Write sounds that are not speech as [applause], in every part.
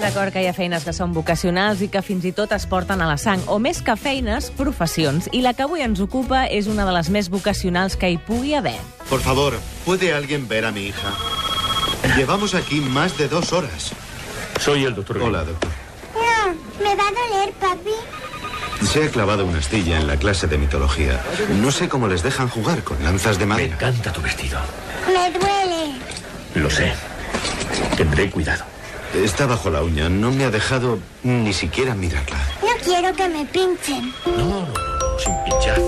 d'acord que hi ha feines que són vocacionals i que fins i tot es porten a la sang, o més que feines, professions. I la que avui ens ocupa és una de les més vocacionals que hi pugui haver. Por favor, ¿puede alguien ver a mi hija? Llevamos aquí más de dos horas. Soy el doctor. Hola, doctor. No, me va a doler, papi. Se ha clavado una astilla en la clase de mitología. No sé cómo les dejan jugar con lanzas de Me madera. encanta tu vestido. Me duele. Lo sé. Tendré cuidado. Está bajo la uña. No me ha dejado ni siquiera mirarla. No quiero que me pinchen. No, no, no, no, sin pinchar.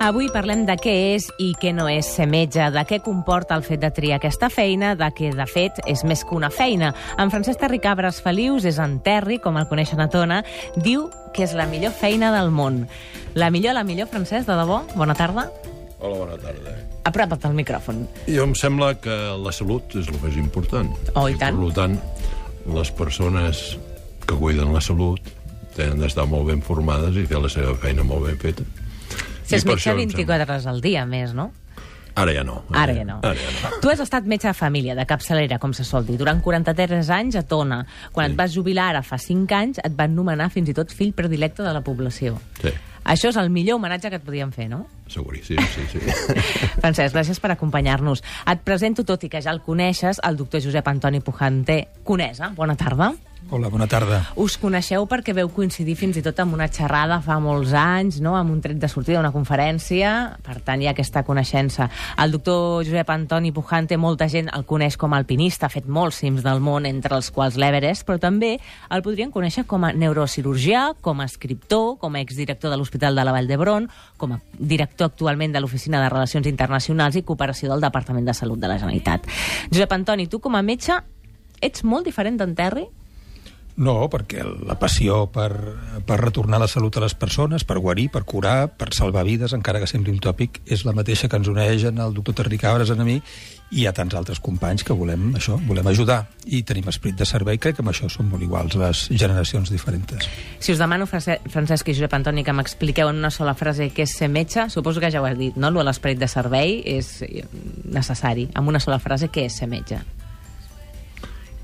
Avui parlem de què és i què no és ser metge, de què comporta el fet de triar aquesta feina, de què, de fet, és més que una feina. En Francesc Terricabres Felius és en Terri, com el coneixen a Tona, diu que és la millor feina del món. La millor, la millor, Francesc, de debò? Bona tarda. Hola, bona tarda. Apropa't al micròfon. Jo em sembla que la salut és el més important. Oh, i tant. Per tant, les persones que cuiden la salut tenen d'estar molt ben formades i fer la seva feina molt ben feta. Si I és per mitjà això em sembla- 24 hores al dia, més, no? Ara ja no. Ara ja no. Ara ja no. Tu has estat metge de família, de capçalera, com se sol dir, durant 43 anys a Tona. Quan et vas jubilar ara fa 5 anys, et van nomenar fins i tot fill predilecte de la població. Sí, Això és el millor homenatge que et podíem fer, [laughs] no? seguríssim, sí, sí. [laughs] Francesc, gràcies per acompanyar-nos. Et presento, tot i que ja el coneixes, el doctor Josep Antoni Pujanté. Conesa, bona tarda. Hola, bona tarda. Us coneixeu perquè veu coincidir fins i tot amb una xerrada fa molts anys, no? amb un tret de sortida d'una conferència, per tant hi ha aquesta coneixença. El doctor Josep Antoni Pujante, molta gent el coneix com a alpinista, ha fet molts cims del món, entre els quals l'Everest, però també el podrien conèixer com a neurocirurgià, com a escriptor, com a exdirector de l'Hospital de la Vall d'Hebron, com a director actualment de l'Oficina de Relacions Internacionals i Cooperació del Departament de Salut de la Generalitat. Josep Antoni, tu com a metge ets molt diferent d'en Terry? No, perquè la passió per, per retornar la salut a les persones, per guarir, per curar, per salvar vides, encara que sembli un tòpic, és la mateixa que ens uneix en el doctor Terri Cabres, en a mi, i a tants altres companys que volem això, volem ajudar. I tenim esperit de servei, crec que amb això som molt iguals, les generacions diferents. Si us demano, Frase- Francesc i Josep Antoni, que m'expliqueu en una sola frase què és ser metge, suposo que ja ho has dit, no? Lo de l'esperit de servei és eh, necessari. Amb una sola frase, què és ser metge?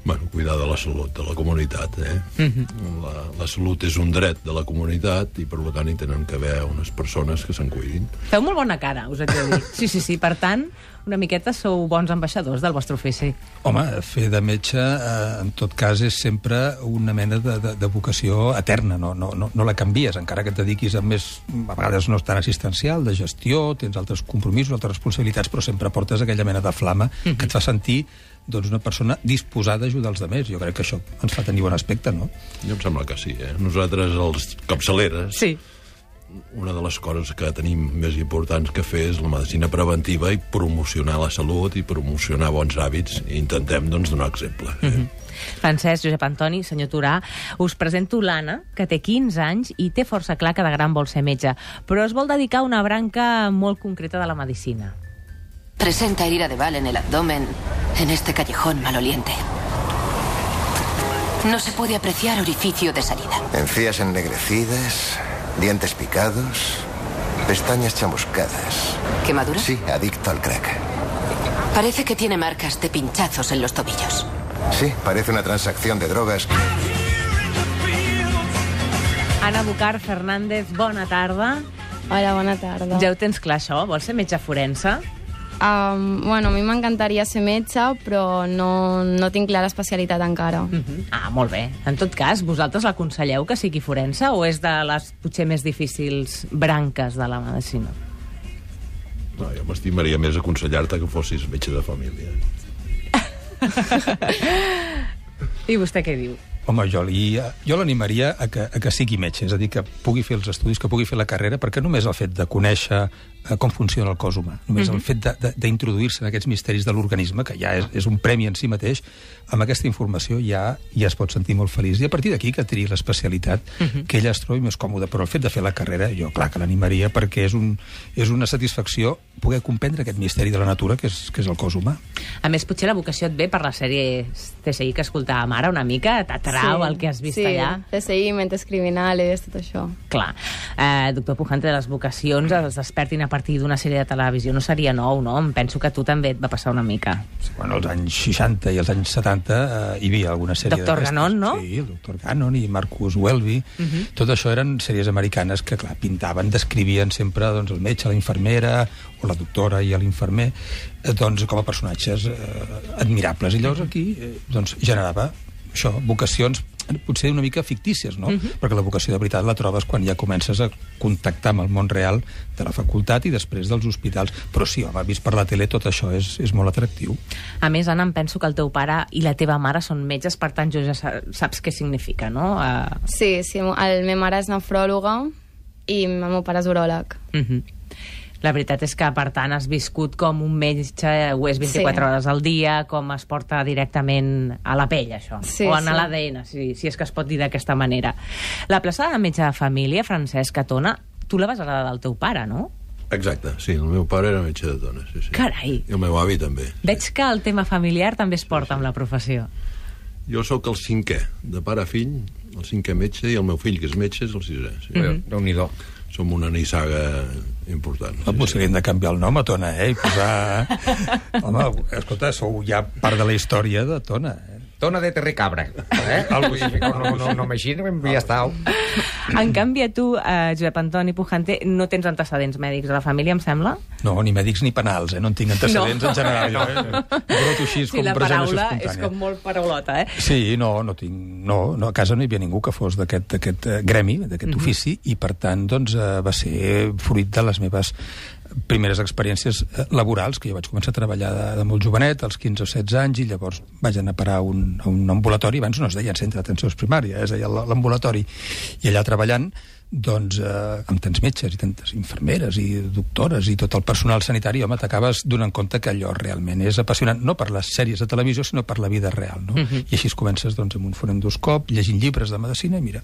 bueno, cuidar de la salut de la comunitat, eh? Mhm. la, la salut és un dret de la comunitat i, per tant, hi tenen que haver unes persones que se'n cuidin. Feu molt bona cara, us haig de dir. Sí, sí, sí. Per tant, una miqueta sou bons ambaixadors del vostre ofici. Home, fer de metge, eh, en tot cas, és sempre una mena de, de, de vocació eterna, no, no, no, no la canvies, encara que et dediquis a més, a vegades no és tan assistencial, de gestió, tens altres compromisos, altres responsabilitats, però sempre portes aquella mena de flama que et fa sentir doncs, una persona disposada a ajudar els altres. Jo crec que això ens fa tenir bon aspecte, no? Jo em sembla que sí, eh? Nosaltres, els capçaleres, Sí. una de les coses que tenim més importants que fer és la medicina preventiva i promocionar la salut i promocionar bons hàbits i intentem doncs, donar exemple. Eh? Francesc, Josep Antoni, senyor Turà, us presento l'Anna, que té 15 anys i té força clar que de gran vol ser metge, però es vol dedicar a una branca molt concreta de la medicina. Presenta herida de bala en el abdomen en este callejón maloliente. No se puede apreciar orificio de salida. Encías ennegrecidas, dientes picados, pestañas chamuscadas. ¿Quemadura? Sí, adicto al crack. Parece que tiene marcas de pinchazos en los tobillos. Sí, parece una transacción de drogas. Anna Bucar Fernández, bona tarda. Hola, bona tarda. Ja ho tens clar, això? Vols ser metge forense? Um, bueno, a mi m'encantaria ser metge, però no, no tinc clar l'especialitat encara. Uh -huh. Ah, molt bé. En tot cas, vosaltres l'aconselleu que sigui forense o és de les potser més difícils branques de la medicina? No, jo m'estimaria més aconsellar-te que fossis metge de família. I vostè què diu? Home, jo li- jo l'animaria a, que, a que sigui metge, és a dir, que pugui fer els estudis, que pugui fer la carrera, perquè només el fet de conèixer eh, com funciona el cos humà, només el fet de- de- d'introduir-se en aquests misteris de l'organisme, que ja és, és un premi en si mateix, amb aquesta informació ja ja es pot sentir molt feliç. I a partir d'aquí que triï l'especialitat que ella es trobi més còmoda. Però el fet de fer la carrera, jo clar que l'animaria, perquè és, un, és una satisfacció poder comprendre aquest misteri de la natura que és, que és el cos humà. A més, potser la vocació et ve per la sèrie TSI que escoltàvem ara una mica, t'atrau sí. el que has vist sí, allà. Sí, CSI, mentes criminales, tot això. Clar. Eh, doctor Pujante, de les vocacions es despertin a partir d'una sèrie de televisió no seria nou, no? Em penso que a tu també et va passar una mica. Bueno, als anys 60 i als anys 70 eh, hi havia alguna sèrie Doctor d'aquestes. Ganon, no? Mhm. Sí, el Doctor Ganon i Marcus Welby. Tot això eren sèries americanes que, clar, pintaven, descrivien sempre doncs, el metge, la infermera, o la doctora i l'infermer, eh, doncs, com a personatges eh, admirables. I llavors aquí eh, doncs, generava això, vocacions eh, potser una mica fictícies, no? Mhm. Perquè la vocació de veritat la trobes quan ja comences a contactar amb el món real de la facultat i després dels hospitals. Però sí, home, vist per la tele tot això és, és molt atractiu. A més, Anna, em penso que el teu pare i la teva mare són metges, per tant, jo ja sa- saps què significa, no? Uh, Sí, sí, el meu mare és nefròloga i el meu pare és uròleg. Uh -huh. La veritat és que, per tant, has viscut com un metge, ho és 24 Sí. sí. hores al dia, com es porta directament a la pell, això. Sí, o en sí. l'ADN, si, si és que es pot dir d'aquesta manera. La plaça de metge de família, Francesc Tona, tu la vas heredar del teu pare, no? Exacte, sí, el meu pare era metge de dones. Sí, sí. Carai. I el meu avi també. Veig que el tema familiar també es porta amb la professió. Jo sóc el cinquè, de pare a fill, el cinquè metge, i el meu fill, que és metge, és el sisè. Sí. Mm -hmm. Déu-n'hi-do. Som una nissaga important. No, potser hauríem de canviar el nom a Tona, eh? I [laughs] posar... Home, escolta, sou ja part de la història de Tona, eh? Tona de terricabra. Eh? Algo així, no, no, no, no m'aixino, ja està. En canvi, a tu, eh, Josep Antoni Pujante, no tens antecedents mèdics a la família, em sembla? No, ni mèdics ni penals, eh? No en tinc antecedents No. en [laughs] general. No. Eh? Broto així, és sí, com la presentació paraula és espontània. com molt paraulota, eh? Sí, no, no tinc... No, no, a casa no hi havia ningú que fos d'aquest d'aquest, eh, gremi, d'aquest mm -hmm. ofici, i per tant doncs, eh, va ser fruit de les meves primeres experiències eh, laborals, que jo vaig començar a treballar de, de molt jovenet, als 15 o 16 anys, i llavors vaig anar a parar a un, a un ambulatori, abans no es deia centre d'atenció primària, es deia la- l'ambulatori, i allà treballant doncs, eh, amb tants metges i tantes infermeres i doctores i tot el personal sanitari, home, t'acabes donant compte que allò realment és apassionant, no per les sèries de televisió, sinó per la vida real, no? I així es comences, doncs, amb un fonendoscop, llegint llibres de medicina, i mira,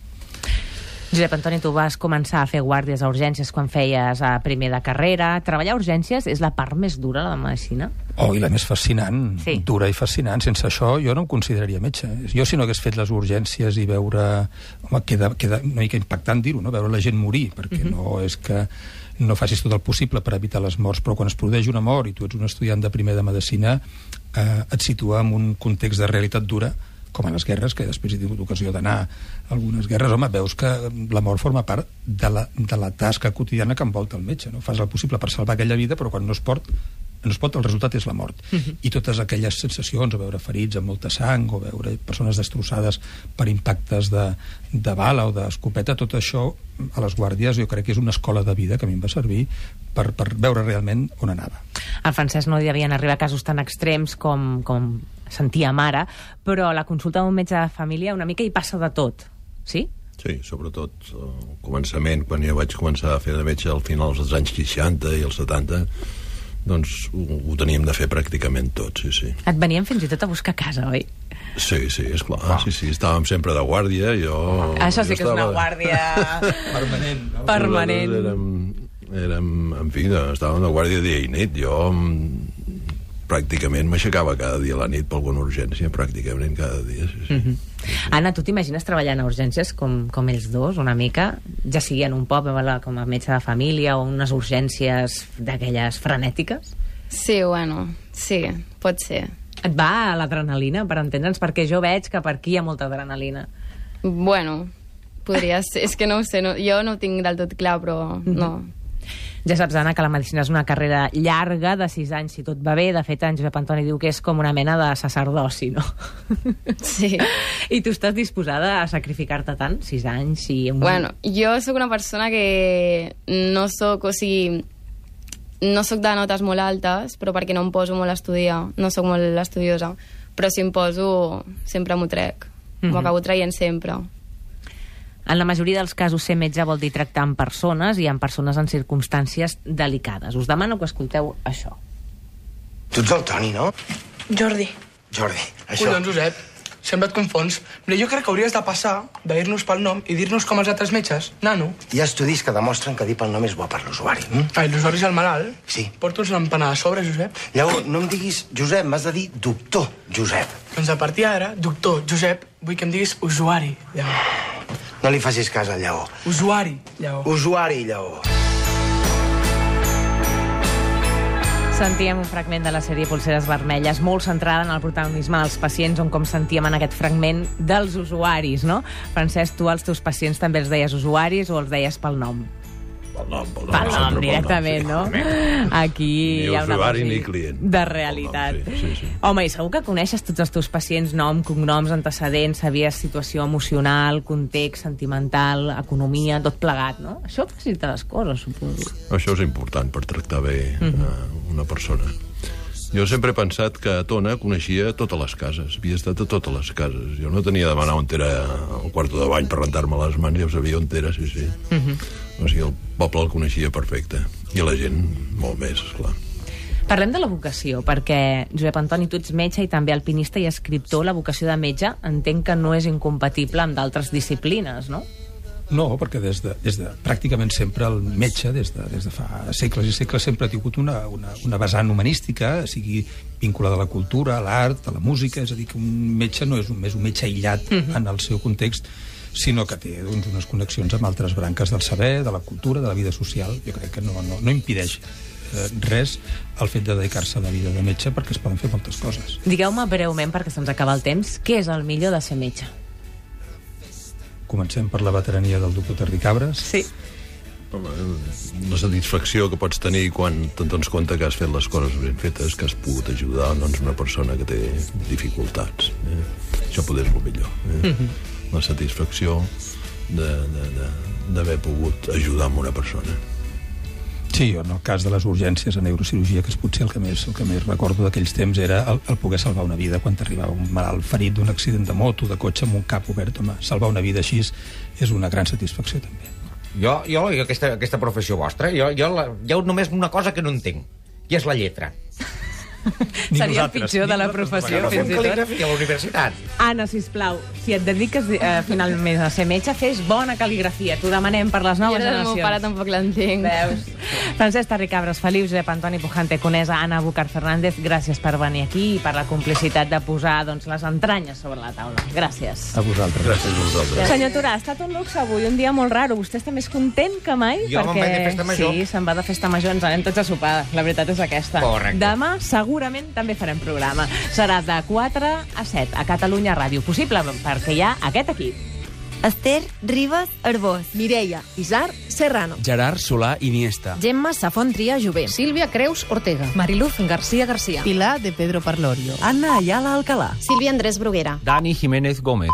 Josep Antoni, tu vas començar a fer guàrdies a urgències quan feies a primer de carrera. Treballar a urgències és la part més dura de la medicina? oh, i la més fascinant, Sí. dura i fascinant, sense això jo no em consideraria metge. eh? Jo, si no hagués fet les urgències i veure... Home, queda, queda una mica impactant dir-ho, no? Veure la gent morir, perquè no és que no facis tot el possible per evitar les morts, però quan es produeix una mort i tu ets un estudiant de primer de medicina, eh, et situa en un context de realitat dura, com a les guerres, que després he tingut ocasió d'anar a algunes guerres, home, veus que la mort forma part de la, de la tasca quotidiana que envolta el metge, no? Fas el possible per salvar aquella vida, però quan no es pot, no es pot, el resultat és la mort. I totes aquelles sensacions, o veure ferits amb molta sang, o veure persones destrossades per impactes de, de bala o d'escopeta, tot això a les guàrdies jo crec que és una escola de vida que a mi em va servir per, per veure realment on anava. En francès no devien arribar a casos tan extrems com, com sentia mare, però a la consulta d'un metge de família una mica hi passa de tot, sí? Sí, sobretot eh, al començament, quan jo vaig començar a fer de metge al final dels anys 60 i els 70, doncs ho, ho teníem de fer pràcticament tot, sí, sí. Et venien fins i tot a buscar a casa, oi? Sí, sí, esclar, ah. sí, sí, estàvem sempre de guàrdia, jo... Això sí jo que és una estava- guàrdia Permanent, no? permanent. Nosaltres Érem, érem, en fi, de- estàvem de guàrdia dia i nit. Jo mm, pràcticament m'aixecava cada dia a la nit per alguna urgència, pràcticament cada dia. Sí, sí. Mhm. Mm Anna, tu t'imagines treballant a urgències com, com ells dos, una mica? Ja sigui en un poble la- com a metge de família o unes urgències d'aquelles frenètiques? Sí, bueno, sí, pot ser. Et va l'adrenalina, per entendre'ns? Perquè jo veig que per aquí hi ha molta adrenalina. Bueno, podria [laughs] ser, és que no ho sé, no, jo no ho tinc del tot clar, però no. Mhm. Ja saps, Anna, que la medicina és una carrera llarga, de 6 anys, si tot va bé. De fet, en Josep Antoni diu que és com una mena de sacerdoci, no? Sí. [laughs] I tu estàs disposada a sacrificar-te tant? 6 anys i... Un... Bueno, jo sóc una persona que no sóc, o sigui, no sóc de notes molt altes, però perquè no em poso molt a estudiar, no sóc molt estudiosa, però si em poso sempre m'ho trec, m'ho Mhm. acabo traient sempre. En la majoria dels casos, ser metge vol dir tractar amb persones i amb persones en circumstàncies delicades. Us demano que escolteu això. Tu ets el Toni, no? Jordi, Jordi, això... collons, Josep, sembla et confons. Mira, jo crec que hauries de passar de dir-nos pel nom i dir-nos com els altres metges. Nano. Hi ha estudis que demostren que dir pel nom és bo per l'usuari. Hm? Ai, l'usuari és el malalt. Sí. Porta'ns una empanada a sobre, Josep. Llavors, no em diguis Josep, m'has de dir doctor Josep. Doncs a partir d'ara, doctor, Josep, vull que em diguis usuari, lleó. No li facis cas al lleó. Usuari, lleó. Usuari, lleó. Sentíem un fragment de la sèrie Polseres Vermelles, molt centrada en el protagonisme dels pacients, on com sentíem en aquest fragment, dels usuaris, no? Francesc, tu als teus pacients també els deies usuaris o els deies pel nom? Pel nom, pel nom. Pel sempre nom, directament, no? Aquí Ni hi ha una usuari cosa ni client. de realitat. Home, i segur que coneixes tots els teus pacients, nom, cognoms, antecedents, sabies situació emocional, context, sentimental, economia, tot plegat, no? Això facilita les coses, suposo. Això és important per tractar bé mm Mhm. -hmm. una persona. Jo sempre he pensat que a Tona coneixia totes les cases, havia estat a totes les cases. Jo no tenia de demanar on era el quarto de bany per rentar-me les mans, ja ho sabia on era, sí, sí. O sigui, el poble el coneixia perfecte. I la gent, molt més, clar. Parlem de la vocació, perquè, Josep Antoni, tu ets metge i també alpinista i escriptor. La vocació de metge entenc que no és incompatible amb d'altres disciplines, no? No, perquè des de, des de pràcticament sempre el metge, des de, des de fa segles i segles, sempre ha tingut una, una, una vessant humanística, sigui vinculada a la cultura, a l'art, a la música, és a dir, que un metge no és un, més un metge aïllat Mhm. en el seu context, sinó que té doncs, unes connexions amb altres branques del saber, de la cultura, de la vida social. Jo crec que no, no, no impedeix eh, res el fet de dedicar-se a la vida de metge perquè es poden fer moltes coses. Digueu-me breument, perquè se'ns acaba el temps, què és el millor de ser metge? Comencem per la veterania del doctor Terri Cabres. Sí. Home, la satisfacció que pots tenir quan te'n dones compte que has fet les coses ben fetes, que has pogut ajudar doncs, una persona que té dificultats. Eh? Això poder és el millor. Eh? Mhm. La satisfacció de- de- de- d'haver pogut ajudar amb una persona. Sí, jo en el cas de les urgències a neurocirurgia, que és potser el que més, el que més recordo d'aquells temps, era el, el poder salvar una vida quan t'arribava un malalt ferit d'un accident de moto, de cotxe, amb un cap obert. Home, salvar una vida així és- és una gran satisfacció, també. Jo, jo, jo aquesta, aquesta professió vostra, jo, jo la, hi ha només una cosa que no entenc, i és la lletra. Seria el pitjor de la professió, No fem fins i tot. cal·ligrafia a la universitat. Anna, sisplau, si et dediques eh, finalment a ser metge, fes bona cal·ligrafia. T'ho demanem per les Jo noves del meu generacions. pare tampoc l'entenc. Veus? Francesc Tarricabres Feliu, Josep Antoni Pujante Conesa, Anna Bucar Fernández, gràcies per venir aquí i per la complicitat de posar doncs, les entranyes sobre la taula. Gràcies. A vosaltres. Gràcies a vosaltres. Senyor Turà, ha estat un luxe avui, un dia molt raro. Vostè està més content que mai? Jo me'n vaig de festa major. Sí, se'n va de festa major, ens anem tots a sopar. La veritat és aquesta. Correcte. Demà segurament també farem programa. Serà de 4 a 7 a Catalunya Ràdio. Possible, perquè hi ha aquest equip. Esther Ribas Arbós. Mireia Isar Serrano. Gerard Solà Iniesta. Gemma Safont Tria Jové. Sílvia Creus Ortega. Mariluz García García. Pilar de Pedro Parlorio. Anna Ayala Alcalá. Sílvia Andrés Bruguera. Dani Jiménez Gómez.